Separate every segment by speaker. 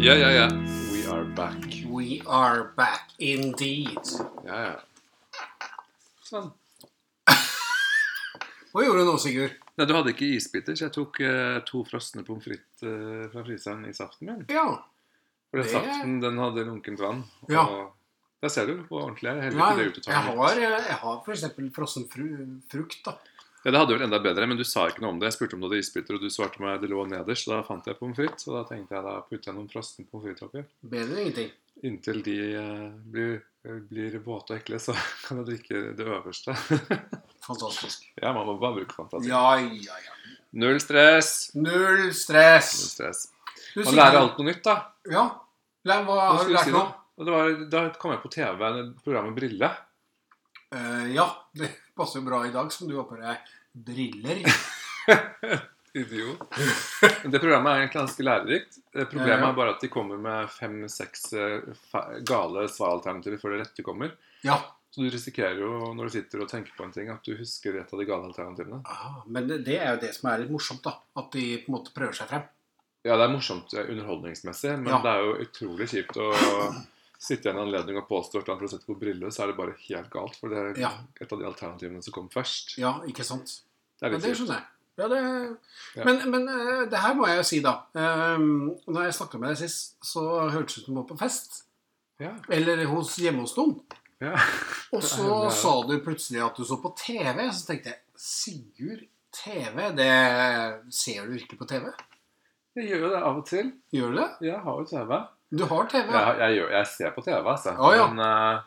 Speaker 1: Ja, ja, ja.
Speaker 2: We are back.
Speaker 3: We are back indeed.
Speaker 2: Ja, ja.
Speaker 1: Sånn.
Speaker 3: Hva gjorde du nå, Sigurd?
Speaker 1: Nei, du hadde ikke isbiter, så jeg tok eh, to frosne pommes frites eh, fra fryseren i saften min.
Speaker 3: Ja.
Speaker 1: For den
Speaker 3: Det-
Speaker 1: saften den hadde lunkent vann. Og
Speaker 3: Ja.
Speaker 1: Der ser du hvor ordentlig jeg er. Heller
Speaker 3: Nei,
Speaker 1: ikke det ut og
Speaker 3: jeg
Speaker 1: tar litt.
Speaker 3: har, eh, jeg har for eksempel frossen fru, frukt, da.
Speaker 1: Ja, det hadde jo vært enda bedre, men du sa ikke noe om det. Jeg spurte om du hadde isbiter, og du svarte meg det lå nederst. Da fant jeg pommes frites, og da tenkte jeg da putter jeg noen frosne pommes frites oppi.
Speaker 3: Bedre enn ingenting.
Speaker 1: Inntil de eh, blir, blir våte og ekle, så kan jeg drikke det øverste.
Speaker 3: Fantastisk.
Speaker 1: ja, man må bare bruke fantasi.
Speaker 3: Ja, ja, ja.
Speaker 1: Null stress.
Speaker 3: Null
Speaker 1: Null
Speaker 3: stress.
Speaker 1: stress.
Speaker 3: Du,
Speaker 1: Man lærer alt noe nytt, da.
Speaker 3: Ja. Lær, hva
Speaker 1: Hva
Speaker 3: har du
Speaker 1: skulle
Speaker 3: lært
Speaker 1: si
Speaker 3: nå?
Speaker 1: da? Og det var, da kom jeg på TV med programmet Brille.
Speaker 3: Eh, ja, det passer jo bra i dag som du har på deg briller.
Speaker 1: Idiot. Det programmet er egentlig ganske lærerikt. Eh, Problemet
Speaker 3: Ja, ja.
Speaker 1: er bare at de kommer med fem-seks gale svaralternativer før det rette kommer.
Speaker 3: Ja.
Speaker 1: Så du risikerer jo når du sitter og tenker på en ting, at du husker et av de gale alternativene.
Speaker 3: Ah, men det det er jo det som er litt morsomt, da. At de på en måte prøver seg frem.
Speaker 1: Ja, det er morsomt eh, underholdningsmessig, men
Speaker 3: Ja.
Speaker 1: det er jo utrolig kjipt å sitte i en anledning og påstå at for å sette på brille, så er det bare helt galt. For det er
Speaker 3: Ja.
Speaker 1: et av de alternativene som kom først.
Speaker 3: Ja, ikke sant?
Speaker 1: Det er
Speaker 3: Ja,
Speaker 1: litt
Speaker 3: det
Speaker 1: kjipt.
Speaker 3: skjønner jeg. Ja, det...
Speaker 1: Ja.
Speaker 3: Men, men eh, det her må jeg jo si, da. Um, når jeg snakka med deg sist, så hørtes det ut som du var på fest.
Speaker 1: Ja.
Speaker 3: Eller hos, hjemme hos noen.
Speaker 1: ja.
Speaker 3: Og så
Speaker 1: Ja, det er-
Speaker 3: sa du plutselig at du så på TV. Så tenkte jeg Sigurd, TV? Det ser du ikke på TV?
Speaker 1: Jeg gjør jo det av og til.
Speaker 3: Gjør du det?
Speaker 1: Jeg har jo TV.
Speaker 3: Du har TV? ja.
Speaker 1: Jeg, jeg, gjør- jeg ser på TV, altså.
Speaker 3: Å, ja.
Speaker 1: Men eh,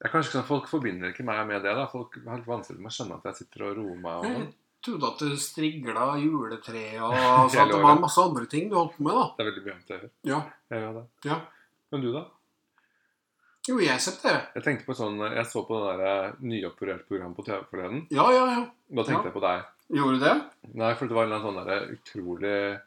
Speaker 1: jeg er kanskje ikke sånn, folk forbinder ikke meg med det. da Folk har litt vanskelig med å skjønne at jeg sitter og roer meg. Og
Speaker 3: Jeg
Speaker 1: sånn.
Speaker 3: trodde at du strigla juletre og så at det
Speaker 1: året.
Speaker 3: var masse andre ting du holdt på med, da.
Speaker 1: det er veldig mye annet jeg gjør.
Speaker 3: Ja.
Speaker 1: Jeg gjør det.
Speaker 3: ja.
Speaker 1: Men du, da?
Speaker 3: Jo, jeg ser på TV.
Speaker 1: Jeg tenkte på sånn, jeg så på det der nyoperert program på TV forleden.
Speaker 3: Ja, ja, ja.
Speaker 1: Da tenkte
Speaker 3: Ja.
Speaker 1: jeg på deg.
Speaker 3: Gjorde du det?
Speaker 1: Nei, for det var en eller annen sånn der utrolig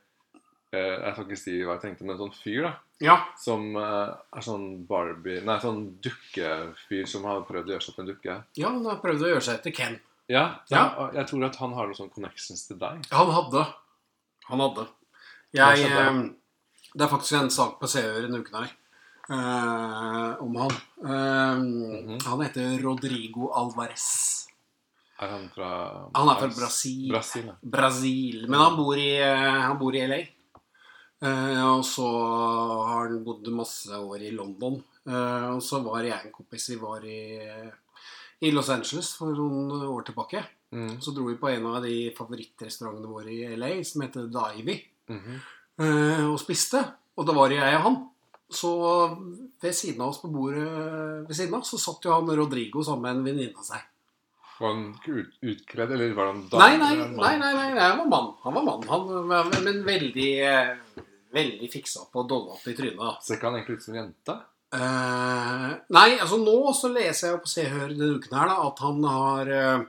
Speaker 1: eh, Jeg skal ikke si hva jeg tenkte, men en sånn fyr da
Speaker 3: Ja.
Speaker 1: som eh, er sånn Barbie Nei, sånn dukkefyr som har prøvd å gjøre seg til en dukke.
Speaker 3: Ja, han har prøvd å gjøre seg etter Ken.
Speaker 1: Ja,
Speaker 3: Ja.
Speaker 1: da- Jeg tror at han har noen sånne connections til deg.
Speaker 3: Han hadde. Han hadde.
Speaker 1: Hva
Speaker 3: Jeg,
Speaker 1: skjedde?
Speaker 3: eh, det er faktisk en sak på seer denne uken her eh, om han. Eh,
Speaker 1: Mhm.
Speaker 3: Han heter Rodrigo Alvarez.
Speaker 1: Er han fra
Speaker 3: Han er fra Brasil.
Speaker 1: Brasil, ja.
Speaker 3: Brasil. Men han bor i, eh, han bor i LA. Eh, og så har han bodd masse år i London. Eh, og så var jeg og en kompis Vi var i, eh, i Los Angeles for noen år tilbake.
Speaker 1: Mm.
Speaker 3: Så dro vi på en av de favorittrestaurantene våre i LA, som heter Divey.
Speaker 1: Mhm.
Speaker 3: eh, og spiste. Og det var jo jeg og han. Så ved siden av oss på bordet ved siden av, så satt jo han Rodrigo sammen med en venninne av seg.
Speaker 1: Var han ikke ut, utkledd, eller var han
Speaker 3: Nei,
Speaker 1: dame,
Speaker 3: nei,
Speaker 1: eller en
Speaker 3: nei,
Speaker 1: mann?
Speaker 3: nei, nei, han var mann. Han var mann, han var, men veldig, eh, veldig fiksa på og dolla opp i trynet. da.
Speaker 1: Ser ikke han egentlig ut som en jente?
Speaker 3: Eh, nei, altså nå så leser jeg jo på Se og Hør denne uken her da, at han har eh,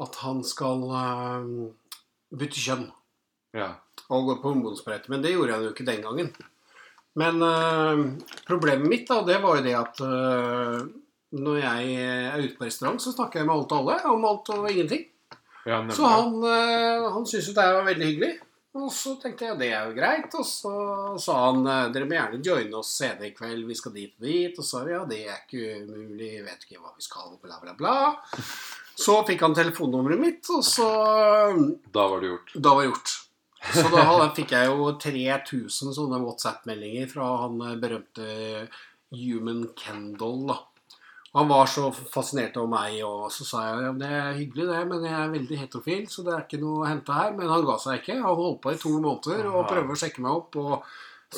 Speaker 3: At han skal eh, bytte kjønn.
Speaker 1: Ja.
Speaker 3: og går på hormonsprøyte, men det gjorde han jo ikke den gangen. Men øh, problemet mitt da, det var jo det at øh, når jeg er ute på restaurant, så snakker jeg med alt og alle om alt og ingenting.
Speaker 1: ja nemlig.
Speaker 3: Så han, øh, han syntes jo det her var veldig hyggelig. Og så tenkte jeg det er jo greit. Og så sa han øh, dere må gjerne joine oss senere i kveld, vi skal dit og dit. Og så sa vi ja, det er ikke umulig, jeg vet ikke hva vi skal, bla, bla, bla. Så fikk han telefonnummeret mitt, og så øh,
Speaker 1: Da var det gjort.
Speaker 3: da var det gjort. Så da hadde- fikk jeg jo 3000 sånne WhatsApp-meldinger fra han eh, berømte Human Kendall, da. Han var så fascinert av meg, og så sa jeg ja, det er hyggelig det, men jeg er veldig heterofil, så det er ikke noe å hente her. Men han ga seg ikke. Han holdt på i to måneder og
Speaker 1: Aha.
Speaker 3: prøvde å sjekke meg opp. og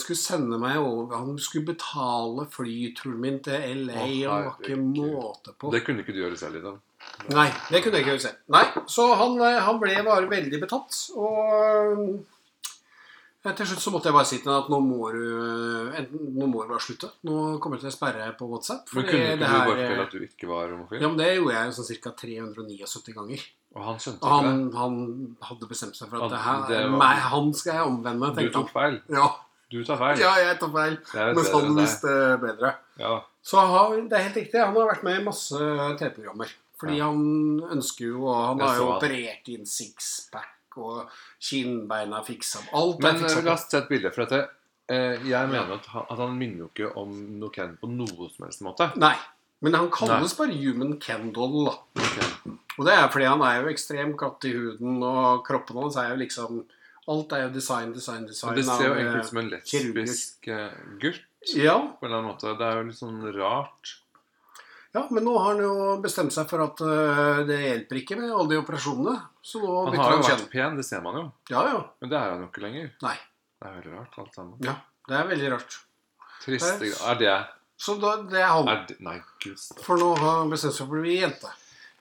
Speaker 3: skulle sende meg over, Han skulle betale flyturen min til
Speaker 1: Å,
Speaker 3: LA, og det var ikke
Speaker 1: herregud.
Speaker 3: måte på.
Speaker 1: Det kunne ikke du gjøre selv, liksom.
Speaker 3: Nei, det kunne jeg ikke se. Nei, Så han, eh, han ble bare veldig betatt. Og eh, til slutt så måtte jeg bare si til ham at nå må du eh, enten, nå må du bare slutte. Nå kommer jeg til å sperre på WhatsApp.
Speaker 1: Men
Speaker 3: fordi
Speaker 1: kunne ikke
Speaker 3: det
Speaker 1: du
Speaker 3: her,
Speaker 1: bare fortelle
Speaker 3: eh,
Speaker 1: at du ikke var homofil?
Speaker 3: ja, men Det gjorde jeg jo sånn ca. 379 ganger.
Speaker 1: Og han skjønte
Speaker 3: Og
Speaker 1: ikke
Speaker 3: han, han hadde bestemt seg for
Speaker 1: Han-
Speaker 3: at det her,
Speaker 1: det var-
Speaker 3: meg, han skal jeg omvende.
Speaker 1: det. Du
Speaker 3: tenkte
Speaker 1: tok
Speaker 3: han.
Speaker 1: feil.
Speaker 3: Ja,
Speaker 1: Du tar feil.
Speaker 3: ja, sånn- jeg tar feil.
Speaker 1: Jeg vet
Speaker 3: Mens
Speaker 1: bedre
Speaker 3: han
Speaker 1: enn deg.
Speaker 3: visste eh, bedre.
Speaker 1: Ja.
Speaker 3: Så han, det er helt riktig, han har vært med i masse TV-programmer. Fordi
Speaker 1: Ja.
Speaker 3: han ønsker jo og Han
Speaker 1: Jeg
Speaker 3: har jo
Speaker 1: så han.
Speaker 3: operert inn sixpack og kinnbeina fiksa opp. Alt
Speaker 1: Men
Speaker 3: er
Speaker 1: eh,
Speaker 3: fiksa
Speaker 1: la
Speaker 3: opp.
Speaker 1: oss se et bilde, for dette eh, jeg mener at han, at han minner jo ikke om noe Ken på noe som helst måte.
Speaker 3: Nei. Men han kalles bare Human Kendall. da.
Speaker 1: Ok.
Speaker 3: Og det er fordi han er jo ekstremt glatt i huden, og kroppen hans er jo liksom Alt er jo design, design, design.
Speaker 1: Men det ser jo
Speaker 3: av,
Speaker 1: egentlig
Speaker 3: eh,
Speaker 1: ut som en lesbisk eh, gutt
Speaker 3: ja,
Speaker 1: på en eller annen måte. Det er jo litt sånn rart.
Speaker 3: ja, men nå har han jo bestemt seg for at eh, det hjelper ikke med alle de operasjonene. Så nå
Speaker 1: Han
Speaker 3: bytter
Speaker 1: har jo
Speaker 3: han
Speaker 1: vært
Speaker 3: kjønn.
Speaker 1: pen, det ser man jo.
Speaker 3: Ja, ja.
Speaker 1: Men det er han jo ikke lenger.
Speaker 3: Nei.
Speaker 1: Det er veldig rart, alt sammen.
Speaker 3: ja. Det er veldig rart.
Speaker 1: Triste greier. Er det
Speaker 3: Så da, det er han.
Speaker 1: er det, Nei, gud.
Speaker 3: For nå har han bestemt seg for å bli jente.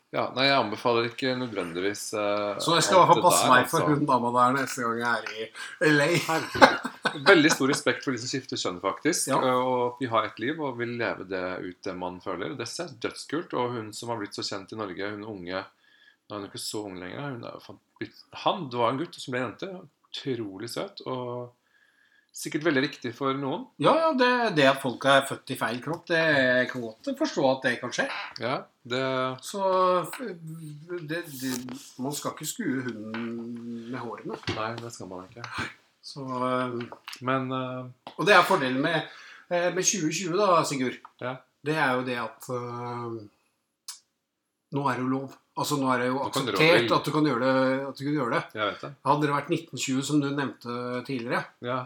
Speaker 1: Ja, nei, jeg anbefaler ikke nødvendigvis eh,
Speaker 3: Så jeg skal i hvert
Speaker 1: alt
Speaker 3: fall
Speaker 1: det
Speaker 3: passe
Speaker 1: der,
Speaker 3: meg for
Speaker 1: altså.
Speaker 3: hun dama der neste gang jeg er i LA.
Speaker 1: Herregud. Veldig stor respekt for de som skifter kjønn, faktisk. Eh,
Speaker 3: Ja.
Speaker 1: Og vi har et liv og vil leve det ut det man føler. Det er dødskult. Og hun som har blitt så kjent i Norge, hun unge Nå er hun ikke så ung lenger. Hun er jo fan- blitt, han det var en gutt som ble en jente. Utrolig søt. Og sikkert veldig riktig for noen.
Speaker 3: Ja, ja, det, det at folk er født i feil kropp, det jeg kan godt forstå at det kan skje.
Speaker 1: Ja, det
Speaker 3: Så det, det, man skal ikke skue hunden med hårene.
Speaker 1: Nei, det skal man ikke.
Speaker 3: Så, og
Speaker 1: Men eh,
Speaker 3: det er fordelen med, eh, med 2020, da, Sigurd.
Speaker 1: Ja.
Speaker 3: Det er jo det at eh, nå er det jo lov. Altså Nå er det jo
Speaker 1: Nå kan du gjøre
Speaker 3: akseptert
Speaker 1: det.
Speaker 3: at du kan gjøre det. At du kan gjøre det.
Speaker 1: jeg vet det.
Speaker 3: Hadde det vært 1920, som du nevnte tidligere,
Speaker 1: Ja.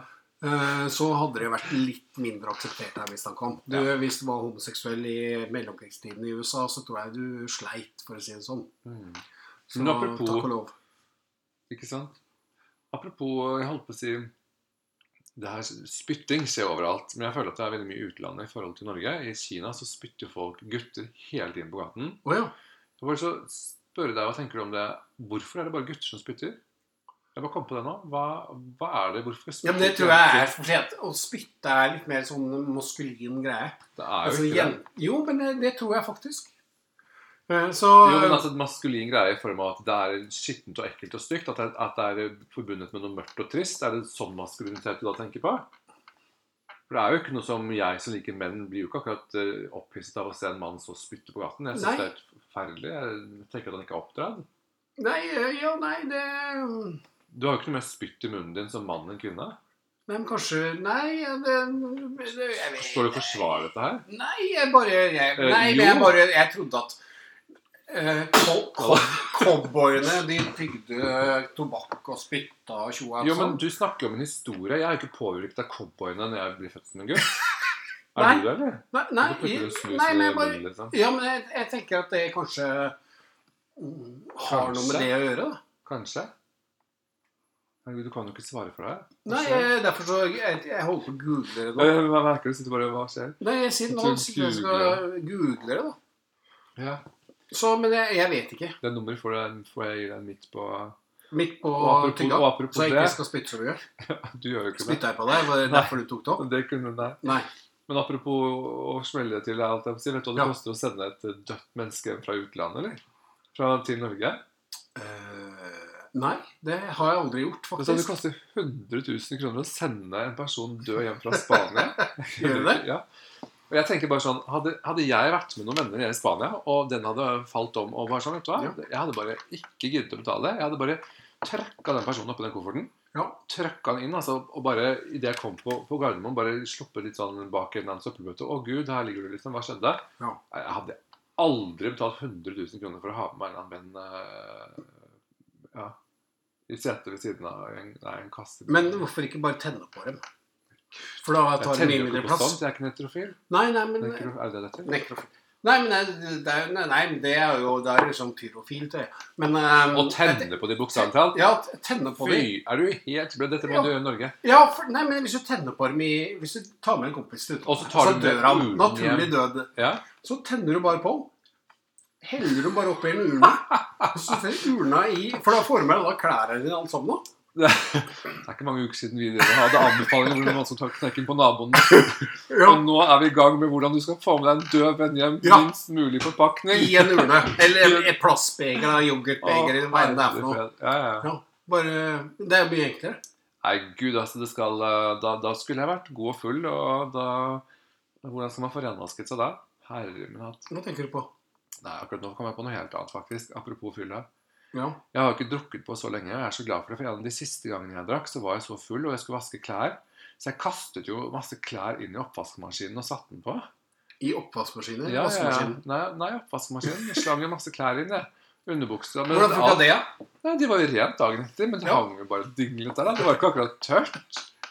Speaker 3: Eh, så hadde det vært litt mindre akseptert her hvis han kom. Du, Hvis du var homoseksuell i mellomkrigstiden i USA, så tror jeg du sleit, for å si det sånn.
Speaker 1: Mm.
Speaker 3: Så
Speaker 1: Men apropos-
Speaker 3: takk og lov.
Speaker 1: Ikke sant? Apropos, eh, jeg holdt på å si det her Spytting skjer overalt. Men jeg føler at det er veldig mye i utlandet i forhold til Norge. I Kina så spytter folk gutter hele tiden på gaten.
Speaker 3: Å ja.
Speaker 1: Jeg vil så spørre deg, Hva tenker du om det? Hvorfor er det bare gutter som spytter? Jeg bare kom på det nå. Hva, hva er det? Hvorfor
Speaker 3: ja, men det tror jeg er fordi at å spytte er litt mer sånn maskulin greie.
Speaker 1: Det er jo
Speaker 3: Altså,
Speaker 1: ikke det.
Speaker 3: jen- jo, men det, det tror jeg faktisk. Eh, Så
Speaker 1: Jo, men altså et maskulin greie i form av at det er skittent og ekkelt og stygt. At det, at det er forbundet med noe mørkt og trist. Er det sånn maskulinitet du da tenker på? For det er jo ikke noe som jeg som liker menn, blir jo ikke akkurat eh, opphisset av å se en mann så spytte på gaten. Jeg
Speaker 3: Nei.
Speaker 1: syns det er helt forferdelig. Jeg tenker at han ikke er oppdratt.
Speaker 3: Nei, eh, ja, nei, det
Speaker 1: Du har jo ikke noe mer spytt i munnen din som mann enn kvinne.
Speaker 3: Men kanskje Nei, det, det jeg vet.
Speaker 1: Står du og forsvarer dette her?
Speaker 3: Nei, jeg bare jeg,
Speaker 1: Eh,
Speaker 3: Nei,
Speaker 1: jo.
Speaker 3: men jeg bare Jeg trodde at eh, cow- cow- cowboyene de tygde tobakk og spytta og tjoa og
Speaker 1: Jo, men
Speaker 3: sånn.
Speaker 1: du snakker om en historie. Jeg er jo ikke påvirket av cowboyene når jeg blir født som en gutt. Er
Speaker 3: Nei.
Speaker 1: du det, eller?
Speaker 3: Nei, nei,
Speaker 1: Hvorfor putter du snus
Speaker 3: nei, men
Speaker 1: i
Speaker 3: jeg bare
Speaker 1: munnen, liksom?
Speaker 3: Ja, men jeg, jeg tenker at det kanskje mm, har noe
Speaker 1: Kanskje.
Speaker 3: med det å gjøre, da.
Speaker 1: Kanskje. Herregud, du kan jo ikke svare for deg. Hva
Speaker 3: Nei,
Speaker 1: skjer?
Speaker 3: jeg, derfor så Jeg, jeg holder på å google det
Speaker 1: Nei,
Speaker 3: nå.
Speaker 1: jeg merker du sitter bare Hva skjer?
Speaker 3: Nei, jeg sitter nå
Speaker 1: Eh, Du
Speaker 3: og sitter og skal google det, da.
Speaker 1: Ja.
Speaker 3: Så, men jeg, jeg vet ikke.
Speaker 1: Det nummeret får, jeg- får jeg gi deg midt på
Speaker 3: Midt på
Speaker 1: Og apropos,
Speaker 3: tygga.
Speaker 1: og apropos
Speaker 3: Så jeg
Speaker 1: det
Speaker 3: ikke skal spytte så mye.
Speaker 1: Du gjør jo ikke det.
Speaker 3: Spytta jeg på deg? Var det
Speaker 1: Nei.
Speaker 3: derfor du tok det opp?
Speaker 1: Det kunne nei.
Speaker 3: Nei.
Speaker 1: Men apropos å smelle til deg alt jeg sier, vet du hva det
Speaker 3: Ja.
Speaker 1: koster å sende et dødt menneske fra utlandet, eller? Fra til Norge?
Speaker 3: Eh, nei, det har jeg aldri gjort,
Speaker 1: Det, sånn, det
Speaker 3: faktisk.
Speaker 1: koster 100 000 kroner å sende en person død hjem fra Spania.
Speaker 3: Gjør det det?
Speaker 1: Ja. Og jeg tenker bare sånn, hadde, hadde jeg vært med noen venner nede i Spania, og den hadde falt om og bare sånn, vet du hva?
Speaker 3: Ja.
Speaker 1: Jeg hadde bare ikke giddet å betale. Jeg hadde bare trøkka den personen oppi den kofferten.
Speaker 3: Ja.
Speaker 1: Trøkka den inn, altså, og bare idet jeg kom på, på Gardermoen, bare sluppet litt sånn bak en eller annen søppelbøtte. Å gud, her ligger du, liksom. Hva skjedde?
Speaker 3: Ja.
Speaker 1: Jeg hadde aldri betalt 100 000 kroner for å ha med meg en eller annen venn eh, ja, i setet ved siden av en, nei, en kasse.
Speaker 3: Men hvorfor ikke bare tenne på dem? For da
Speaker 1: jeg
Speaker 3: tar det
Speaker 1: tenner
Speaker 3: mye
Speaker 1: jo
Speaker 3: mindre
Speaker 1: ikke på sånt,
Speaker 3: plass.
Speaker 1: jeg er ikke nekrofil.
Speaker 3: Nei, nei, men
Speaker 1: Nekro, er det det heter?
Speaker 3: Nekrofil. Nei, men det- det er jo Nei, nei, det er jo det er jo sånn pyrofilt, det. Men eh,
Speaker 1: Å tenne på de bokstavelig talt?
Speaker 3: Ja, t- tenne på
Speaker 1: Fy,
Speaker 3: dem.
Speaker 1: er du helt blød? Dette må
Speaker 3: Ja.
Speaker 1: du gjøre i Norge.
Speaker 3: Ja, for, nei, men hvis du tenner på dem i Hvis du tar med en kompis til
Speaker 1: Og så
Speaker 3: utlandet,
Speaker 1: tar
Speaker 3: så
Speaker 1: du med
Speaker 3: dør han.
Speaker 1: urnen
Speaker 3: Naturlig
Speaker 1: hjem.
Speaker 3: død.
Speaker 1: Ja.
Speaker 3: Så tenner du bare på den. Heller du bare oppi en urne. Og så tenner urna i For da former du da klærne dine alt sammen. da.
Speaker 1: Det er ikke mange uker siden vi hadde anbefalinger om hvordan man skal ta knekken på naboen.
Speaker 3: Ja.
Speaker 1: Og nå er vi i gang med hvordan du skal få med deg en død venn hjem.
Speaker 3: Ja.
Speaker 1: Minst mulig forpakning.
Speaker 3: I en urne. Eller et plastbeger av yoghurtbeger. eller Hva enn det er for noe.
Speaker 1: Å, herre fred. Ja, ja.
Speaker 3: Ja, bare, det er mye enklere.
Speaker 1: Nei, gud, altså, det skal eh, Da, da skulle jeg vært god og full, og da Hvordan skal man få renvasket seg da? Herre min hatt.
Speaker 3: Hva tenker du på?
Speaker 1: Nei, akkurat nå kom jeg på noe helt annet, faktisk. Apropos fylla.
Speaker 3: Ja.
Speaker 1: Jeg har jo ikke drukket på så lenge, og jeg er så glad for det. For en av de siste gangene jeg drakk, så var jeg så full, og jeg skulle vaske klær. Så jeg kastet jo masse klær inn i oppvaskmaskinen og satte den på.
Speaker 3: I
Speaker 1: Ja,
Speaker 3: oppvaskmaskiner?
Speaker 1: ja, ja.
Speaker 3: vaskemaskiner.
Speaker 1: Nei, nei oppvaskmaskinen. Jeg slang jo masse klær inn, jeg. Underbukser. Men
Speaker 3: Hvordan funka
Speaker 1: alt-
Speaker 3: det, da?
Speaker 1: Nei, de var jo rent dagen etter, men de
Speaker 3: Ja.
Speaker 1: hang jo bare og dinglet der. Da. Det var ikke akkurat tørt.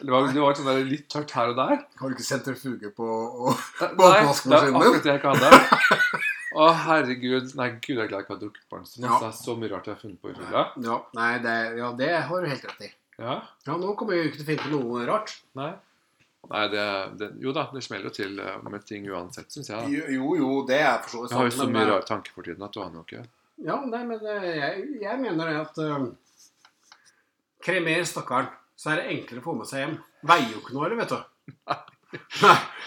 Speaker 1: Det var, det var sånn der litt tørt her og der.
Speaker 3: Har du ikke sentrifuge på og...
Speaker 1: Nei, det er
Speaker 3: oppvaskmaskinen din.
Speaker 1: akkurat det jeg ikke hadde. Å, herregud. Nei, gud, jeg er glad jeg ikke har drukket barnestund.
Speaker 3: Ja.
Speaker 1: Det er så mye rart jeg har funnet på i fylla.
Speaker 3: ja, Nei, det, ja, det har du helt rett i.
Speaker 1: Ja.
Speaker 3: Ja, nå kommer jeg jo ikke til å finne på noe rart.
Speaker 1: Nei. Nei, det, det Jo da, det smeller jo til eh, med ting uansett, syns jeg. da.
Speaker 3: Jo, jo, jo, det er for så vidt
Speaker 1: Jeg har jo så
Speaker 3: sant, men,
Speaker 1: mye
Speaker 3: eh,
Speaker 1: rare tanker for tiden at du aner jo ikke.
Speaker 3: Ja, nei, men eh, jeg, jeg mener det at eh, Kremer stakkaren, så er det enklere å få med seg hjem. Veier jo ikke noe, eller, vet du. Nei.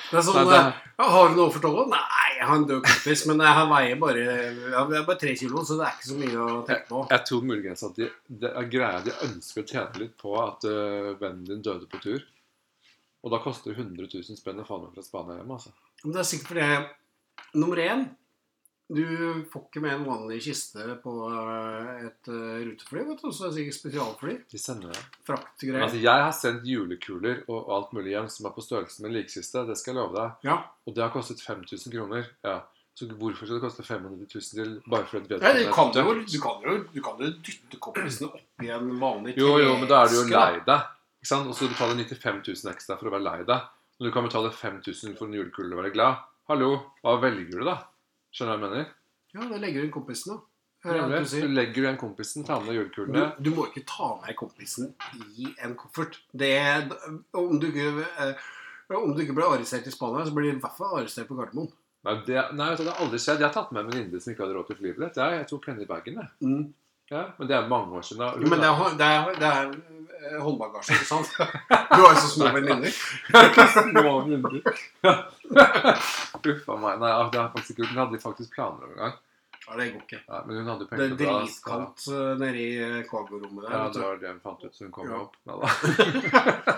Speaker 3: Det er sånn,
Speaker 1: Nei, det-
Speaker 3: eh, ja, Har du noe for tollen? Nei, jeg har en død kompis, men jeg har- veier bare, jeg veier bare tre kilo, så det er ikke så mye å tenke på.
Speaker 1: Jeg tror muligens at de, det er greia de ønsker å tjene litt på at eh, vennen din døde på tur. Og da koster det 100 000 spenn å få med fra Spania hjem, altså.
Speaker 3: Men det er sikkert fordi Nummer én Du får ikke med en vanlig kiste på eh, et eh, rutefly, vet du. Så det er sikkert spesialfly.
Speaker 1: De sender det. Men
Speaker 3: Fraktgreier.
Speaker 1: Altså, jeg har sendt julekuler og alt mulig hjem som er på størrelse med en likkiste. Det skal jeg love deg.
Speaker 3: Ja.
Speaker 1: Og det har kostet 5000 kroner. Ja. Så hvorfor skal det koste 500 000 til bare for et
Speaker 3: Ja, du, kan
Speaker 1: er
Speaker 3: jo,
Speaker 1: dødt?
Speaker 3: du, kan jo, du kan jo dytte kompisene oppi en vanlig
Speaker 1: Jo, jo, men da er du jo
Speaker 3: treske, da.
Speaker 1: lei deg. Ikke sant? Og så betaler du 95 000 ekstra for å være lei deg. Når du kan betale 5000 for en julekule og være glad. Hallo, hva velger du, da? Skjønner du hva jeg mener?
Speaker 3: Ja, da legger du inn kompisene. Hører jeg hva du
Speaker 1: Nemlig. Du
Speaker 3: sier. Mm.
Speaker 1: legger igjen kompisen, tar med deg
Speaker 3: Du,
Speaker 1: julekulene.
Speaker 3: du må ikke ta med kompisen i en koffert. Det, om, du ikke, eh, om du ikke blir arrestert i Spania, så blir du i hvert fall arrestert på Gardermoen.
Speaker 1: Nei, det, nei, vet du, det har aldri skjedd. Jeg har tatt med en venninne som ikke hadde råd til flybillett. Jeg, jeg tok henne i bagen, jeg. Ja, men det er mange år siden. da. Hun
Speaker 3: Men det
Speaker 1: er-
Speaker 3: er, hå- det er, det er eh, håndbagasje, ikke sant? Du har jo så små venninner.
Speaker 1: Noen runder. Uff a meg. Nei, det har jeg faktisk ikke gjort. Hun hadde faktisk planer om en gang.
Speaker 3: Ja, det går ikke.
Speaker 1: Ja, men hun hadde
Speaker 3: Det
Speaker 1: penger
Speaker 3: er
Speaker 1: til bra, så-
Speaker 3: dritkaldt eh, nede i cargo-rommet der.
Speaker 1: Ja,
Speaker 3: vet du.
Speaker 1: det var det hun fant ut, så hun kom
Speaker 3: Ja.
Speaker 1: opp. Nei da.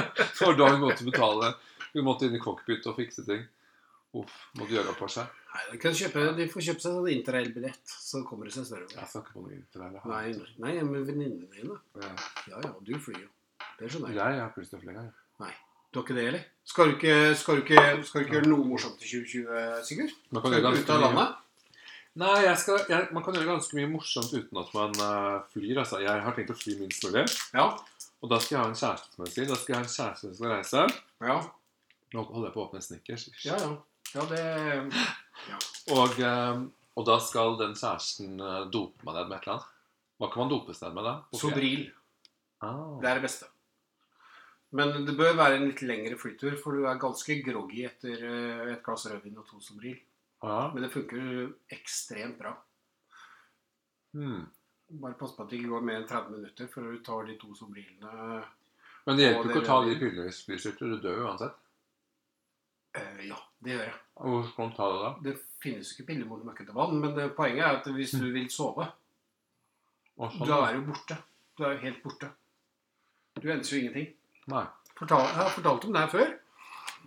Speaker 1: Det var da hun måtte betale. Hun måtte inn i cockpit og fikse ting. Uff, måtte gjøre opp for seg.
Speaker 3: Nei, de, kan kjøpe, de får kjøpe seg sånn interrail-billett, så kommer det seg større.
Speaker 1: Jeg skal ikke på noe interrail. jeg har
Speaker 3: Nei,
Speaker 1: ikke.
Speaker 3: nei, men venninnene dine.
Speaker 1: Ja.
Speaker 3: Ja ja, du flyr jo. Det skjønner jeg.
Speaker 1: Jeg har ikke lyst til å fly engang.
Speaker 3: Du har ikke det, eller? Skal du ikke, skal du ikke, skal du ikke gjøre noe morsomt i 2020, Sigurd?
Speaker 1: Man kan
Speaker 3: Skal du
Speaker 1: gjøre
Speaker 3: ikke ut av
Speaker 1: ganske mye.
Speaker 3: landet?
Speaker 1: Nei, jeg skal, jeg, man kan gjøre ganske mye morsomt uten at man eh, flyr. Altså. Jeg har tenkt å fly minst mulig.
Speaker 3: Ja.
Speaker 1: Og da skal jeg ha en kjæreste som jeg sier. Da skal jeg ha en kjæreste som skal reise.
Speaker 3: Ja,
Speaker 1: Nå holder jeg på å åpne Snickers.
Speaker 3: ja. ja. ja det
Speaker 1: Og, eh, og da skal den kjæresten eh, dope meg ned med et eller annet. Hva kan man dopes ned med da? Ok.
Speaker 3: Sobril.
Speaker 1: Ah.
Speaker 3: Det er det beste. Men det bør være en litt lengre flytur, for du er ganske groggy etter eh, et glass rødvin og to Sobril.
Speaker 1: Ja.
Speaker 3: Men det funker ekstremt bra.
Speaker 1: Hmm.
Speaker 3: Bare pass på at det ikke går mer enn 30 minutter før du tar de to Sobrilene.
Speaker 1: Men det hjelper
Speaker 3: Og
Speaker 1: jo ikke
Speaker 3: det
Speaker 1: å ta
Speaker 3: gjør
Speaker 1: de
Speaker 3: vi.
Speaker 1: pillene hvis du styrter. Du dør jo uansett.
Speaker 3: Eh, ja, det gjør jeg.
Speaker 1: Hvor skal man ta det da?
Speaker 3: Det finnes jo ikke piller mot møkkete vann, men det, poenget er at hvis du vil sove,
Speaker 1: Og sånn.
Speaker 3: da er du borte. Du er jo helt borte. Du enser jo ingenting.
Speaker 1: Nei.
Speaker 3: Fortal, jeg har fortalt om det her før.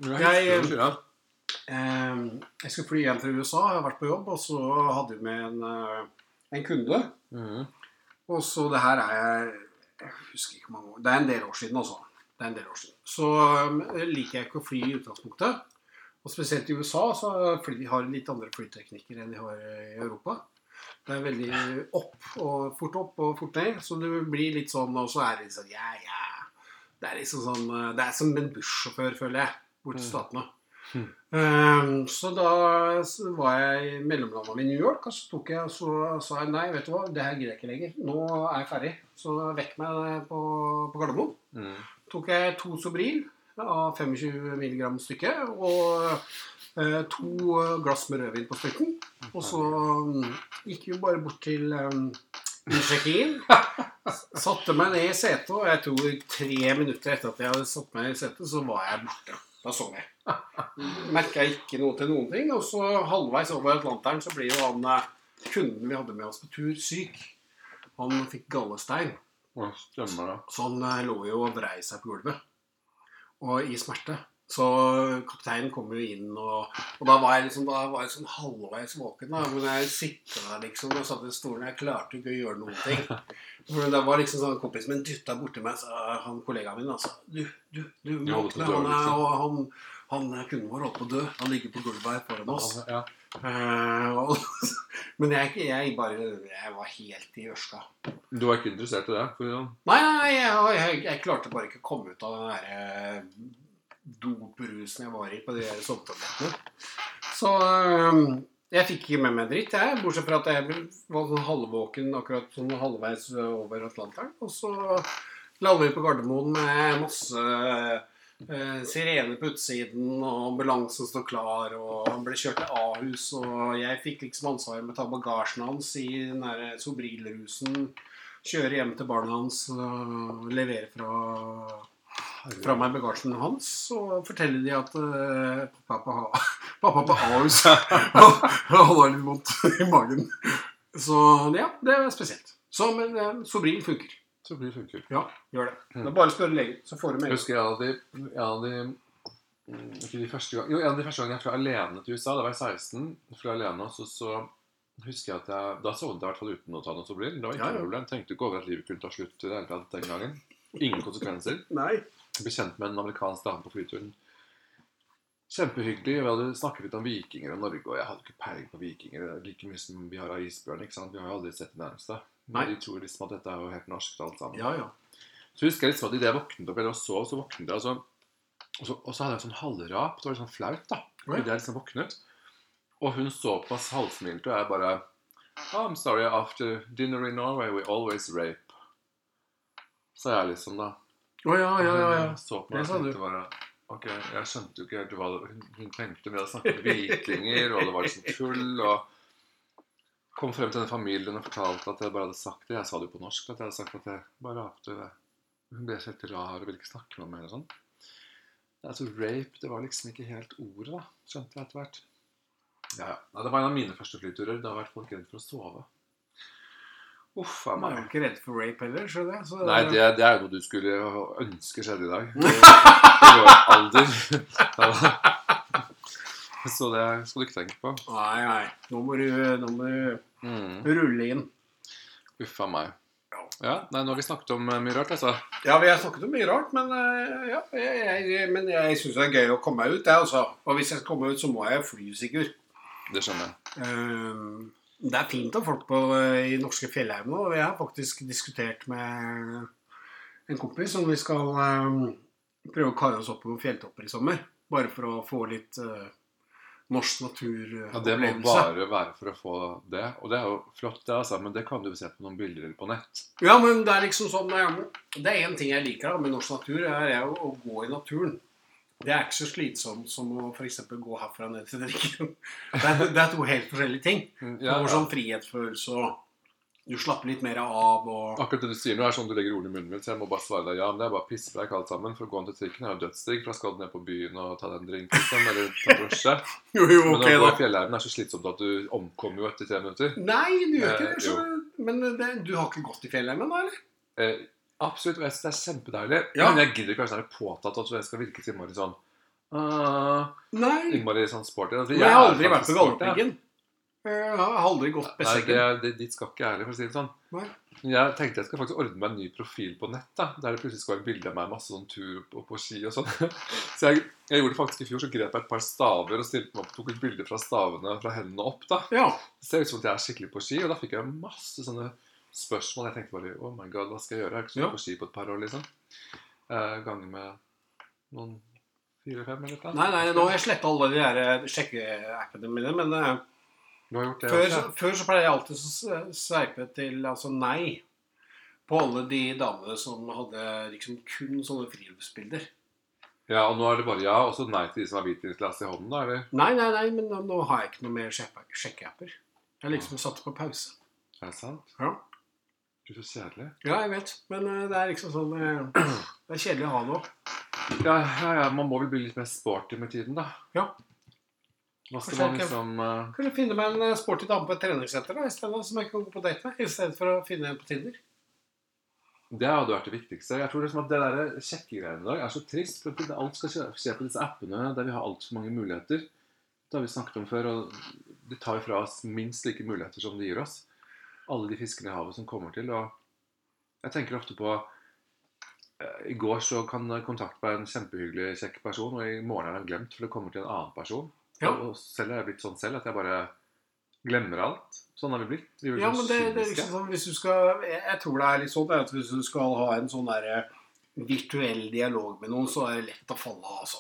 Speaker 1: Men
Speaker 3: Jeg,
Speaker 1: husker du sier det.
Speaker 3: Eh, jeg skulle fly hjem til USA, jeg har vært på jobb, og så hadde vi med en, eh, en kunde.
Speaker 1: Mhm.
Speaker 3: Og så det her er Jeg husker ikke hvor mange år. Det er en del år siden, altså. Det er en del år siden. Så um, liker jeg ikke å fly i utgangspunktet. Og spesielt i USA så fly, har de litt andre flyteknikker enn de har eh, i Europa. Det er veldig opp og fort opp og fort ned. Så det blir litt sånn, og så er det litt sånn ja, ja. Det er liksom sånn eh, Det er som en bussjåfør, føler jeg, borte i
Speaker 1: Mm.
Speaker 3: Statene.
Speaker 1: Mm.
Speaker 3: Um, så da så var jeg i mellomlandet i New York, og så tok jeg og så sa jeg nei, vet du hva, det her gidder jeg ikke lenger. Nå er jeg ferdig. Så vekk meg på, på Gardermoen
Speaker 1: Mhm.
Speaker 3: tok jeg to Sobril av 25 mg stykket, og eh, to glass med rødvin på stykken. Og så mm, gikk vi bare bort til eh, Tsjekkia. Satte meg ned i setet, og jeg tror tre minutter etter at jeg hadde satt meg i setet, så var jeg borte. Da sov jeg. Merka ikke noe til noen ting. Og så halvveis over Atlanteren så blir jo han eh, kunden vi hadde med oss på tur, syk. Han fikk gallestein.
Speaker 1: Å, stemmer det.
Speaker 3: Så han eh, lå jo og vrei seg på gulvet. Og i smerte. Så kapteinen kom jo inn, og, og da var jeg liksom da var jeg sånn halvveis våken. da, Men jeg sitta der liksom og satt i stolen. Jeg klarte ikke å gjøre noen ting. For det var liksom sånn Kompisen min dytta borti meg, så han kollegaen min altså, Du, du, du
Speaker 1: Du
Speaker 3: må
Speaker 1: holdt på å
Speaker 3: åpne.
Speaker 1: dø,
Speaker 3: Han, er,
Speaker 1: liksom.
Speaker 3: og han, han er kunden vår holdt på å dø. Han ligger på gulvet her foran oss.
Speaker 1: Altså, Ja.
Speaker 3: Eh, og, men jeg, jeg bare Jeg var helt i ørska.
Speaker 1: Du var ikke interessert i det? For, å si det sånn.
Speaker 3: Nei, nei, nei, jeg, jeg, jeg klarte bare ikke å komme ut av den der eh, doprusen jeg var i på de der sovetablettene. Så eh, jeg fikk ikke med meg en dritt, jeg. Bortsett fra at jeg ble- var sånn halvvåken akkurat sånn halvveis over Atlanteren. Og så lander vi på Gardermoen med masse eh, sirener på utsiden, og ambulansen står klar, og han ble kjørt til Ahus, og jeg fikk liksom ansvaret med å ta bagasjen hans i den der Sobril-rusen kjøre hjem til barna hans og levere fra, fra meg bagasjen hans. Og fortelle de at eh, pappa, på ha, pappa på Ahus han har litt vondt i magen. Så ja, det er spesielt. Så, men eh, Sobril funker.
Speaker 1: Så blir det funker.
Speaker 3: Ja, gjør det. Det er bare å spørre legen, så får du
Speaker 1: Jeg
Speaker 3: melding.
Speaker 1: husker en av de, en av de mm, ikke de første gang, Jo, en av de første gangene jeg fløy alene til USA, da var jeg 16. Jeg Fløy alene, og så, så husker jeg at jeg, Da sovnet jeg i hvert fall uten å ta noe Sobril. Det var ikke
Speaker 3: Ja, ja.
Speaker 1: noe problem. Tenkte ikke over at livet kunne ta slutt i det hele tatt den gangen. Ingen konsekvenser.
Speaker 3: Nei.
Speaker 1: Jeg ble kjent med en amerikansk dame på flyturen. Kjempehyggelig. Vi hadde snakket litt om vikinger og Norge, og jeg hadde ikke peiling på vikinger. Det er Like mye som vi har av isbjørn. ikke sant? Vi har jo aldri sett det nærmeste.
Speaker 3: Nei.
Speaker 1: Men de tror liksom at dette er jo helt norsk alt sammen.
Speaker 3: Ja, ja.
Speaker 1: Så husker jeg liksom at idet jeg våknet opp eller sov, så våknet jeg, og så, og så, og så hadde jeg en sånn halvrap. Det var litt sånn flaut, da.
Speaker 3: Oi.
Speaker 1: Idet jeg liksom våknet. Og hun så på oss halvsmilte, og jeg bare I'm sorry, after dinner in Norway we always rape. Sa jeg liksom, da.
Speaker 3: Å ja, ja, ja. ja.
Speaker 1: Hun eh, så på meg
Speaker 3: Det sa
Speaker 1: og
Speaker 3: du.
Speaker 1: tenkte bare Ok, jeg skjønte jo ikke helt hva det var. Hun, hun tenkte med å snakke om vikinger, og det var liksom tull, og Kom frem til den familien og fortalte at jeg bare hadde sagt det. Jeg sa det jo på norsk. at jeg hadde sagt at jeg bare rapte det. Hun ble helt rar og ville ikke snakke med meg mer og sånn. Altså, rape, det var liksom ikke helt ordet, da. Skjønte jeg etter hvert. Ja, ja. Nei, det var en av mine første flyturer. Da har vært folk redd for å sove. Uff a
Speaker 3: Man
Speaker 1: meg.
Speaker 3: er jo ikke redd for rape heller, skjønner jeg. Så,
Speaker 1: Nei, det, det er jo noe du skulle ønske skjedde i dag. I vår alder. Så det skal du ikke tenke på.
Speaker 3: Nei, nei. Nå må du, nå må du
Speaker 1: Mm.
Speaker 3: rulle inn.
Speaker 1: Uff a meg. Ja, nei, nå har vi snakket om eh, mye rart, altså.
Speaker 3: Ja, vi har snakket om mye rart, men eh, ja, jeg, jeg, men jeg syns det er gøy å komme meg ut, jeg også. Og hvis jeg skal komme meg ut, så må jeg fly, sikkert.
Speaker 1: Det skjønner jeg.
Speaker 3: Ehm, det er fint av folk på, eh, i norske fjellheim nå. og Jeg har faktisk diskutert med en kompis om vi skal ehm, prøve å kare oss opp på noen fjelltopper i sommer. Bare for å få litt eh, norsk
Speaker 1: Ja, det må
Speaker 3: naturopplevelse.
Speaker 1: bare være for å få det. Og det er jo flott, det, altså. Men det kan du jo se på noen bilder eller på nett.
Speaker 3: Ja, men det er liksom sånn eh, Det er én ting jeg liker da, med norsk natur, er jo å gå i naturen. Det er ikke så slitsomt som å f.eks. gå herfra ned til drikken. Det er, det er to helt forskjellige ting. Du
Speaker 1: Ja,
Speaker 3: får
Speaker 1: ja.
Speaker 3: sånn frihetsfølelse og Du slapper litt mer av og
Speaker 1: Akkurat det du sier nå, er sånn du legger ordene i munnen min, så jeg må bare svare deg ja. Men det er bare pisspreik alt sammen. For å gå an til trikken er jo dødsdigg, for da skal du ned på byen og ta deg en drink, liksom. Eller ta drosje.
Speaker 3: Jo, jo,
Speaker 1: Men å
Speaker 3: ok,
Speaker 1: gå i
Speaker 3: da.
Speaker 1: fjellheimen er så slitsomt at du omkommer jo etter tre minutter.
Speaker 3: Nei, du gjør ikke det.
Speaker 1: Eh, jo.
Speaker 3: Så, men det, du har ikke gått i fjellheimen, da, eller?
Speaker 1: Eh, absolutt, og jeg synes det er kjempedeilig.
Speaker 3: Ja.
Speaker 1: Men jeg gidder ikke være sånn her påtatt at jeg skal virke til innmari sånn uh,
Speaker 3: Nei.
Speaker 1: Innmari sånn sporty. Altså,
Speaker 3: Men jeg har aldri
Speaker 1: er
Speaker 3: vært
Speaker 1: faktisk
Speaker 3: på
Speaker 1: sporty, jeg.
Speaker 3: Galdhøpiggen. Jeg har aldri gått
Speaker 1: Nei,
Speaker 3: Bessekken.
Speaker 1: det, det, dit skal ikke jeg heller, for å si det sånn.
Speaker 3: Nei.
Speaker 1: Men Jeg tenkte jeg skal faktisk ordne meg en ny profil på nett. da Der det plutselig skal være bilde av meg masse sånn tur og på ski og sånn. Så jeg, jeg gjorde det faktisk i fjor, så grep jeg et par staver og stilte meg opp, tok et bilde fra stavene fra hendene opp. da
Speaker 3: Ja.
Speaker 1: Det ser ut som at jeg er skikkelig på ski, og da fikk jeg masse sånne spørsmål. Jeg tenkte bare oh my god, hva skal jeg gjøre? Jeg har ikke
Speaker 3: Ja.
Speaker 1: vært på ski på et par år, liksom. Eh, ganger med noen fire-fem eller noe.
Speaker 3: Nei, nei, nå har jeg sletta alle de der eh, sjekkeappene mine, men eh,
Speaker 1: Du har gjort det
Speaker 3: Før,
Speaker 1: også.
Speaker 3: før så pleier jeg alltid å s- eh, sveipe til altså nei på alle de damene som hadde liksom kun sånne friluftsbilder.
Speaker 1: Ja, og nå er det bare ja, og så nei til de som har hvitvinsglass i hånden, da, eller?
Speaker 3: Nei, nei, nei, men nå, nå har jeg ikke noe mer sjekke- sjekkeapper. Jeg har liksom satt det på pause.
Speaker 1: Er det sant?
Speaker 3: Ja.
Speaker 1: Gud, så kjedelig.
Speaker 3: ja, jeg vet. Men eh, det er liksom sånn eh, Det er kjedelig å ha det òg.
Speaker 1: Ja, ja, ja, man må vel bli litt mer sporty med tiden, da.
Speaker 3: Ja.
Speaker 1: Nå
Speaker 3: Kanskje
Speaker 1: skal man
Speaker 3: jeg
Speaker 1: liksom eh,
Speaker 3: Kanskje finne meg en eh, sporty dame på et treningssenter da, i stedet, som jeg kan gå på date med, i stedet for å finne en på Tinder.
Speaker 1: Det hadde vært det viktigste. Jeg tror liksom at Det der sjekkegreiene i dag er så trist. for at det- Alt skal skje skje på disse appene der vi har altfor mange muligheter. Det har vi snakket om før. og De tar fra oss minst like muligheter som de gir oss. Alle de fiskene i havet som kommer til. og Jeg tenker ofte på eh, I går så kan jeg kontakte meg en kjempehyggelig, kjekk person, og i morgen er han glemt, for det kommer til en annen person.
Speaker 3: Ja.
Speaker 1: Og og selv er jeg blitt sånn selv at jeg bare glemmer alt. Sånn har vi blitt. Vi blir
Speaker 3: Ja,
Speaker 1: sånn
Speaker 3: men det, det
Speaker 1: kyniske.
Speaker 3: er liksom sånn hvis du skal Jeg, jeg tror det er litt sånn det er at hvis du skal ha en sånn derre virtuell dialog med noen, så er det lett å falle av, altså.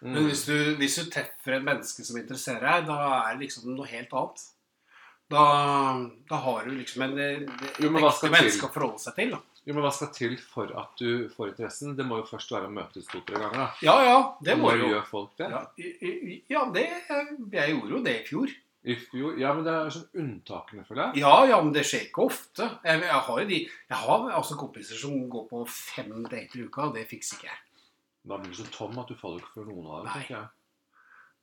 Speaker 3: Men
Speaker 1: Mm.
Speaker 3: hvis du, hvis du treffer et menneske som interesserer deg, da er det liksom noe helt annet. Da, da har du liksom en, en,
Speaker 1: Jo, men
Speaker 3: en
Speaker 1: hva
Speaker 3: ekte
Speaker 1: skal
Speaker 3: menneske
Speaker 1: til?
Speaker 3: å forholde seg til. Da.
Speaker 1: Jo, men Hva skal til for at du får interessen? Det må jo først være å møtes to-tre ganger. da.
Speaker 3: Ja, ja, det
Speaker 1: Og
Speaker 3: må
Speaker 1: bare
Speaker 3: du jo.
Speaker 1: gjør folk det.
Speaker 3: Ja, i- i- ja, det Jeg gjorde jo det i fjor.
Speaker 1: I fjor, ja, men det er sånn unntakene, føler jeg.
Speaker 3: Ja, ja, men det skjer ikke ofte. Jeg, jeg har jo de Jeg har altså kompiser som går på fem dater i uka, og det fikser ikke jeg.
Speaker 1: Da blir du så tom at du faller ikke for noen av dem.
Speaker 3: Nei.
Speaker 1: tenker jeg.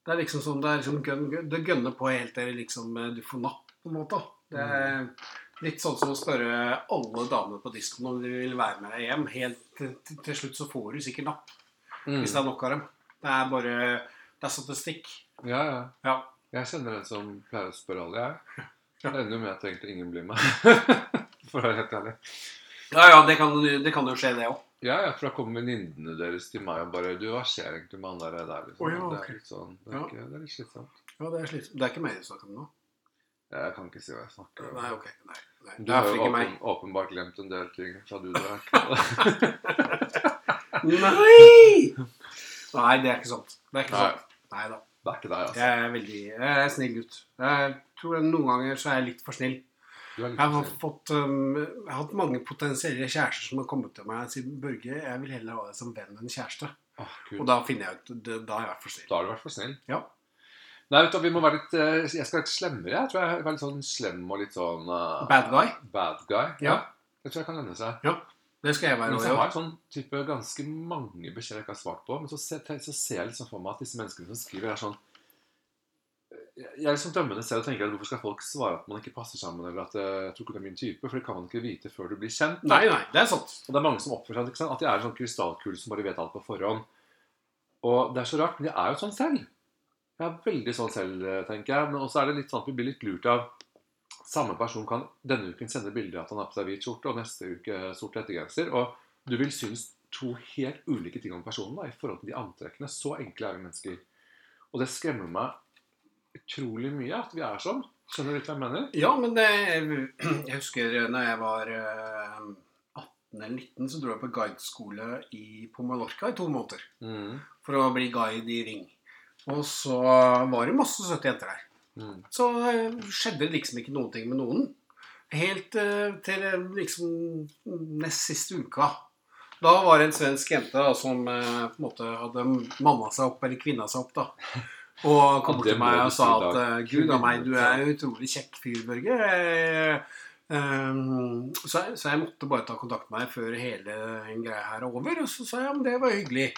Speaker 3: Det er liksom sånn, det er liksom gønn, gønn, det gønner på helt til liksom, eh, du får napp, på en måte. da. Det er litt sånn som å spørre alle damene på disken om de vil være med deg hjem. Helt til, til- til slutt så får du sikkert napp, hvis det
Speaker 1: Mm.
Speaker 3: er nok av dem. Det er bare Det er statistikk.
Speaker 1: Ja, ja.
Speaker 3: Ja.
Speaker 1: Jeg kjenner en som pleier å spørre alle, jeg. Det
Speaker 3: Ja.
Speaker 1: ender jo med at egentlig ingen blir med. for å være helt ærlig.
Speaker 3: Ja, ja, det kan, det kan jo skje, det òg.
Speaker 1: Ja, ja, for da kommer venninnene deres til meg og bare Du, hva skjer egentlig med han der? der liksom.
Speaker 3: Å, ja,
Speaker 1: Det
Speaker 3: ok.
Speaker 1: er litt sånn, det er,
Speaker 3: Ja.
Speaker 1: ikke, det er litt slitsomt.
Speaker 3: Ja, det er slitsomt. Det er ikke meg du snakker om nå?
Speaker 1: Jeg kan ikke si hva jeg snakker om.
Speaker 3: Nei, ok. Nei, nei.
Speaker 1: Du
Speaker 3: Det er
Speaker 1: har
Speaker 3: for
Speaker 1: jo
Speaker 3: ikke meg.
Speaker 1: åpen, åpenbart glemt en del ting fra du drakk.
Speaker 3: Nei! Nei, det er ikke sant. Det er ikke
Speaker 1: Nei.
Speaker 3: sant. Nei da.
Speaker 1: Det er ikke deg, altså.
Speaker 3: Jeg er veldig jeg er snill gutt. Jeg tror noen ganger så er jeg litt for snill.
Speaker 1: Du er litt
Speaker 3: Jeg har,
Speaker 1: snill.
Speaker 3: fått, um, jeg har hatt mange potensielle kjærester som har kommet til meg og sier 'Børge, jeg vil heller ha deg som venn enn kjæreste'.
Speaker 1: Åh, Gud.
Speaker 3: Og da finner jeg ut det- Da har jeg vært for snill.
Speaker 1: Da har du vært for snill.
Speaker 3: Ja.
Speaker 1: Nei, vet du, vi må være litt eh, Jeg skal være litt slemmere. Jeg tror jeg er litt sånn slem og litt sånn eh,
Speaker 3: Bad guy.
Speaker 1: bad guy.
Speaker 3: Ja.
Speaker 1: Det tror jeg kan lønne seg.
Speaker 3: Det skal jeg være.
Speaker 1: Men
Speaker 3: også,
Speaker 1: jeg
Speaker 3: ja.
Speaker 1: har sånn type ganske mange beskjeder jeg ikke har svart på. Men så ser, så ser jeg liksom for meg at disse menneskene som skriver, er sånn Jeg jeg er liksom dømmende selv og tenker at hvorfor skal folk svare at man ikke passer sammen, eller at eh, jeg tror ikke det er min type, for det kan man ikke vite før du blir kjent.
Speaker 3: Nei, nei, det er sant.
Speaker 1: Og det er mange som oppfører seg ikke sant? At de er en sånn krystallkule som bare vet alt på forhånd. Og det er så rart, men jeg er jo sånn selv. Jeg er veldig sånn selv, eh, tenker jeg. Men også er det litt sånn at vi blir litt lurt av Samme person kan denne uken sende bilder av at han har på seg hvit skjorte, og neste uke eh, sort hettegenser. Og du vil synes to helt ulike ting om personen da, i forhold til de antrekkene. Så enkle er vi mennesker. Og det skremmer meg utrolig mye at vi er sånn. Skjønner du litt hva jeg mener?
Speaker 3: Ja, men det, jeg husker når jeg var eh, 18 eller 19, så dro jeg på guideskole i, på Mallorca i to måneder.
Speaker 1: Mm.
Speaker 3: For å bli guide i Ring. Og så var det masse søte jenter der.
Speaker 1: Mm.
Speaker 3: så eh, skjedde det liksom ikke noen ting med noen. Helt eh, til eh, liksom nest siste uka. Da var det en svensk jente da, som eh, på en måte hadde manna seg opp, eller kvinna seg opp, da. Og kom
Speaker 1: Ja, det
Speaker 3: til
Speaker 1: må
Speaker 3: meg
Speaker 1: du
Speaker 3: og
Speaker 1: si
Speaker 3: sa
Speaker 1: da.
Speaker 3: at eh, Gud a meg, du er en utrolig kjekk fyr, Børge. Eh, ehm, så, jeg- så jeg måtte bare ta kontakt med deg før hele den greia her er over. Og så sa jeg ja, men det var hyggelig.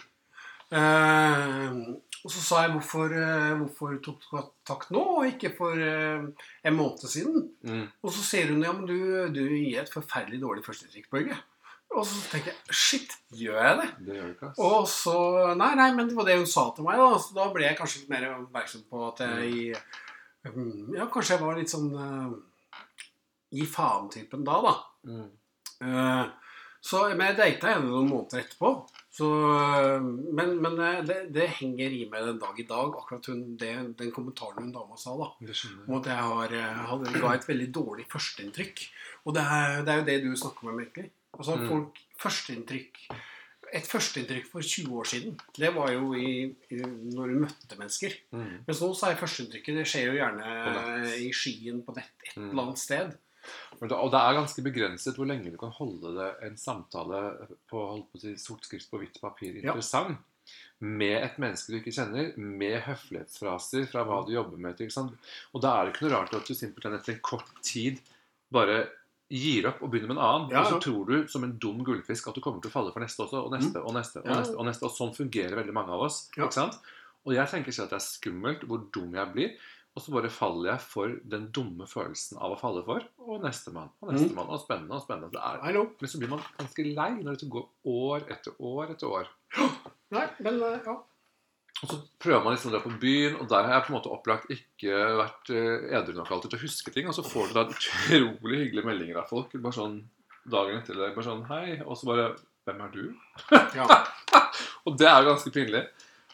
Speaker 3: Ehm, og så sa jeg hvorfor, eh, hvorfor tok du kontakt nå, og ikke for eh, en måned siden?
Speaker 1: Mm.
Speaker 3: Og så sier hun ja, men du, du gir et forferdelig dårlig førsteinntrykk, Børge. Og så tenker jeg shit, gjør jeg det?
Speaker 1: Det gjør du ikke, ass.
Speaker 3: Og så Nei, nei, men det var det hun sa til meg, da. Så da ble jeg kanskje litt mer oppmerksom på at jeg mm, Ja, kanskje jeg var litt sånn eh, gi faen-typen da, da.
Speaker 1: Mm.
Speaker 3: Eh, Så, men jeg data henne noen måneder etterpå. Så, eh, men men eh, det, det henger i meg den dag i dag, akkurat hun, det, den kommentaren hun dama sa. da
Speaker 1: Det skjønner jeg.
Speaker 3: om at jeg har, eh, hadde, ga et veldig dårlig førsteinntrykk. Og det er, det er jo det du snakker om, egentlig. Altså,
Speaker 1: Mm.
Speaker 3: folk, førsteinntrykk Et førsteinntrykk for 20 år siden, det var jo i, i, når du møtte mennesker.
Speaker 1: Mm.
Speaker 3: Mens nå så er førsteinntrykket Det skjer jo gjerne
Speaker 1: På nett.
Speaker 3: eh, i skyen på nett et
Speaker 1: Mm.
Speaker 3: eller annet sted.
Speaker 1: Men det- Og det er ganske begrenset hvor lenge du kan holde det, en samtale på, holdt på å si, sort skrift på hvitt papir
Speaker 3: Ja.
Speaker 1: interessant. Med et menneske du ikke kjenner, med høflighetsfraser fra hva du jobber med. Ikke sant? Og da er det ikke noe rart at du simpelthen etter en kort tid bare gir opp og begynner med en annen.
Speaker 3: Ja,
Speaker 1: Og så
Speaker 3: ja.
Speaker 1: tror du som en dum gullfisk at du kommer til å falle for neste også, og neste og neste. Og
Speaker 3: Mm. Ja.
Speaker 1: neste, og neste, og sånn fungerer veldig mange av oss.
Speaker 3: Ja.
Speaker 1: ikke sant? Og jeg tenker selv at det er skummelt hvor dum jeg blir. Og så bare faller jeg for den dumme følelsen av å falle for. Og nestemann og nestemann. Og spennende og spennende. Det er.
Speaker 3: Nei, no.
Speaker 1: Men så blir man ganske lei når det går år etter år etter år.
Speaker 3: Nei, men eh, ja.
Speaker 1: Og så prøver man liksom å dra på byen, og der har jeg på en måte opplagt ikke vært eh, edru nok alltid til å huske ting. Og så får du da utrolig hyggelige meldinger av folk bare sånn dagen etter. eller Bare sånn hei, og så bare Hvem er du?
Speaker 3: ja.
Speaker 1: Og det er jo ganske pinlig.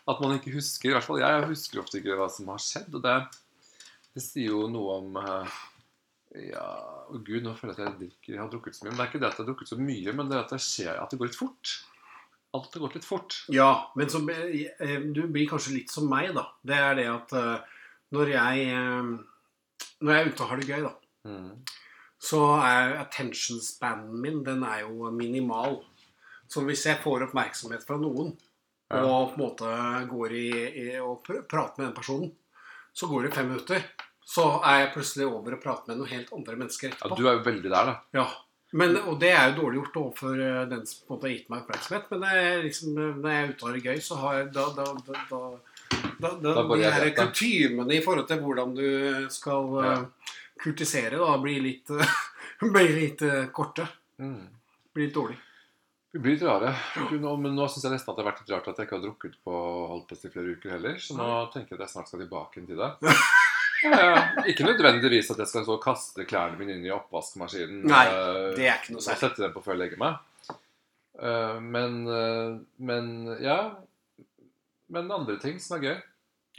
Speaker 1: At man ikke husker. I hvert fall jeg husker ofte ikke hva som har skjedd. Og det, det sier jo noe om eh, Ja, å gud, nå føler jeg at jeg, drikker, jeg har drukket så mye. Men det er ikke det at jeg har drukket så mye, men det er at det skjer at det går litt fort. At det går litt fort.
Speaker 3: Ja, men som, eh, eh, du blir kanskje litt som meg, da. Det er det at eh, når jeg eh, Når jeg er ute og har det gøy, da, så er attention spanen min den er jo minimal. Så hvis jeg får oppmerksomhet fra noen,
Speaker 1: Ja.
Speaker 3: og på en måte går i, i og pr prater med den personen, så går det fem minutter. Så er jeg plutselig over og prater med noen helt andre mennesker
Speaker 1: Ja,
Speaker 3: etterpå.
Speaker 1: du er jo veldig der, da.
Speaker 3: Ja, men, og det er jo dårlig gjort overfor eh, den som på en måte har gitt meg oppmerksomhet. Men det er liksom, eh, når jeg er ute og har det gøy, så har jeg da, da, da, da, da, da,
Speaker 1: Da går
Speaker 3: De
Speaker 1: jeg
Speaker 3: her
Speaker 1: rett, da.
Speaker 3: kutymene i forhold til hvordan du skal eh,
Speaker 1: Ja.
Speaker 3: kurtisere, da blir litt, eh, blir litt eh, korte. Blir litt dårlig.
Speaker 1: Vi blir litt rare. Du, nå, men nå syns jeg nesten at det har vært litt rart at jeg ikke har drukket på holdt på å si flere uker heller. Så nå tenker jeg at jeg snart skal tilbake til det. Eh, ikke nødvendigvis at jeg skal så kaste klærne mine inn i oppvaskmaskinen
Speaker 3: Nei,
Speaker 1: eh,
Speaker 3: Det er ikke
Speaker 1: og
Speaker 3: noe særlig.
Speaker 1: sette dem på før jeg legger meg. Eh, men, eh, men ja. Men andre ting som er gøy.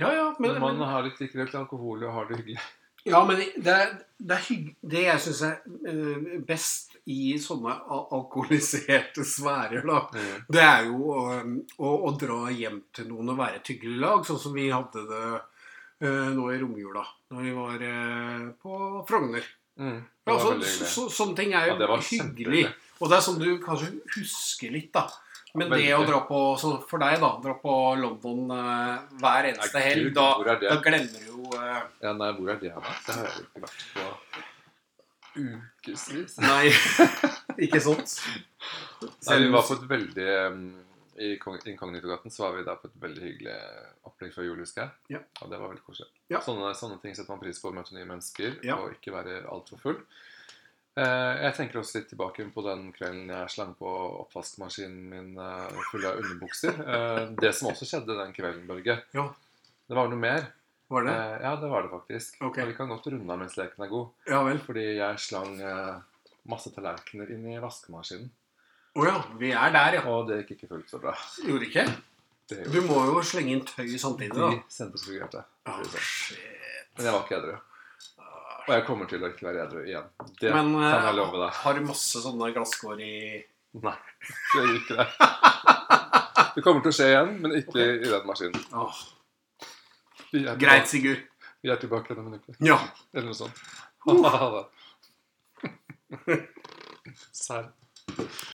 Speaker 3: Ja, ja, men,
Speaker 1: Når man har litt sikkerhet til alkohol og har det hyggelig.
Speaker 3: ja, men det, er- det, er hygg, det jeg syns er eh, best i sånne al- alkoholiserte sfærer, da,
Speaker 1: Mm.
Speaker 3: Det er jo øhm, å, å dra hjem til noen og være et hyggelig lag, sånn som vi hadde det øh, nå i romjula, når vi var øh, på Frogner.
Speaker 1: Mm. Det
Speaker 3: Ja,
Speaker 1: var
Speaker 3: så,
Speaker 1: veldig
Speaker 3: så,
Speaker 1: hyggelig.
Speaker 3: så, sånne ting er jo
Speaker 1: Ja, det var
Speaker 3: hyggelig.
Speaker 1: kjempehyggelig.
Speaker 3: Og det er sånn du kanskje husker litt, da. Men det å
Speaker 1: Veldig.
Speaker 3: dra på, sånn for deg, da, dra på London øh, hver eneste
Speaker 1: Nei,
Speaker 3: helg,
Speaker 1: Gud,
Speaker 3: da,
Speaker 1: hvor er det?
Speaker 3: da glemmer du jo øh,
Speaker 1: Ja, nei, hvor er det da? Det har jeg jo ikke vært på ukevis.
Speaker 3: Nei, ikke sant?
Speaker 1: Nei, vi var på et veldig um, I Kong- Inkognitogaten så var vi da på et veldig hyggelig opplegg før jul, husker jeg.
Speaker 3: Ja.
Speaker 1: Og det var veldig koselig.
Speaker 3: Ja.
Speaker 1: Sånne, sånne ting setter man pris på. å Møte nye mennesker
Speaker 3: Ja.
Speaker 1: og ikke være altfor full. Eh, jeg tenker også litt tilbake på den kvelden jeg slang på oppvaskmaskinen min eh, full av underbukser. Eh, det som også skjedde den kvelden, Børge
Speaker 3: Ja.
Speaker 1: Det var noe mer.
Speaker 3: Var det?
Speaker 1: Eh, ja, det var det faktisk.
Speaker 3: Ok.
Speaker 1: Og vi kan godt runde av mens leken er god.
Speaker 3: Ja vel.
Speaker 1: Fordi jeg slang eh, masse tallerkener inn i vaskemaskinen.
Speaker 3: Å ja, vi er der, ja.
Speaker 1: Og det gikk ikke fullt så bra.
Speaker 3: Gjorde ikke?
Speaker 1: Det
Speaker 3: Du
Speaker 1: gjorde
Speaker 3: må jo slenge inn tøy samtidig, da.
Speaker 1: de sentrifugerte.
Speaker 3: Ah,
Speaker 1: det er sant.
Speaker 3: shit.
Speaker 1: Men jeg var ikke edru. Og jeg kommer til å ikke være edru igjen. Det
Speaker 3: Ah. Men
Speaker 1: kan jeg
Speaker 3: eh,
Speaker 1: love deg.
Speaker 3: har du masse sånne glasskår i
Speaker 1: Nei, det gjør ikke det. Det kommer til å skje igjen, men ikke i den maskinen.
Speaker 3: Åh,
Speaker 1: Vi er,
Speaker 3: Greit, Sigurd.
Speaker 1: Tilbake, vi er tilbake igjen om en uke.
Speaker 3: Ja.
Speaker 1: Eller noe sånt. Ha det. Serr.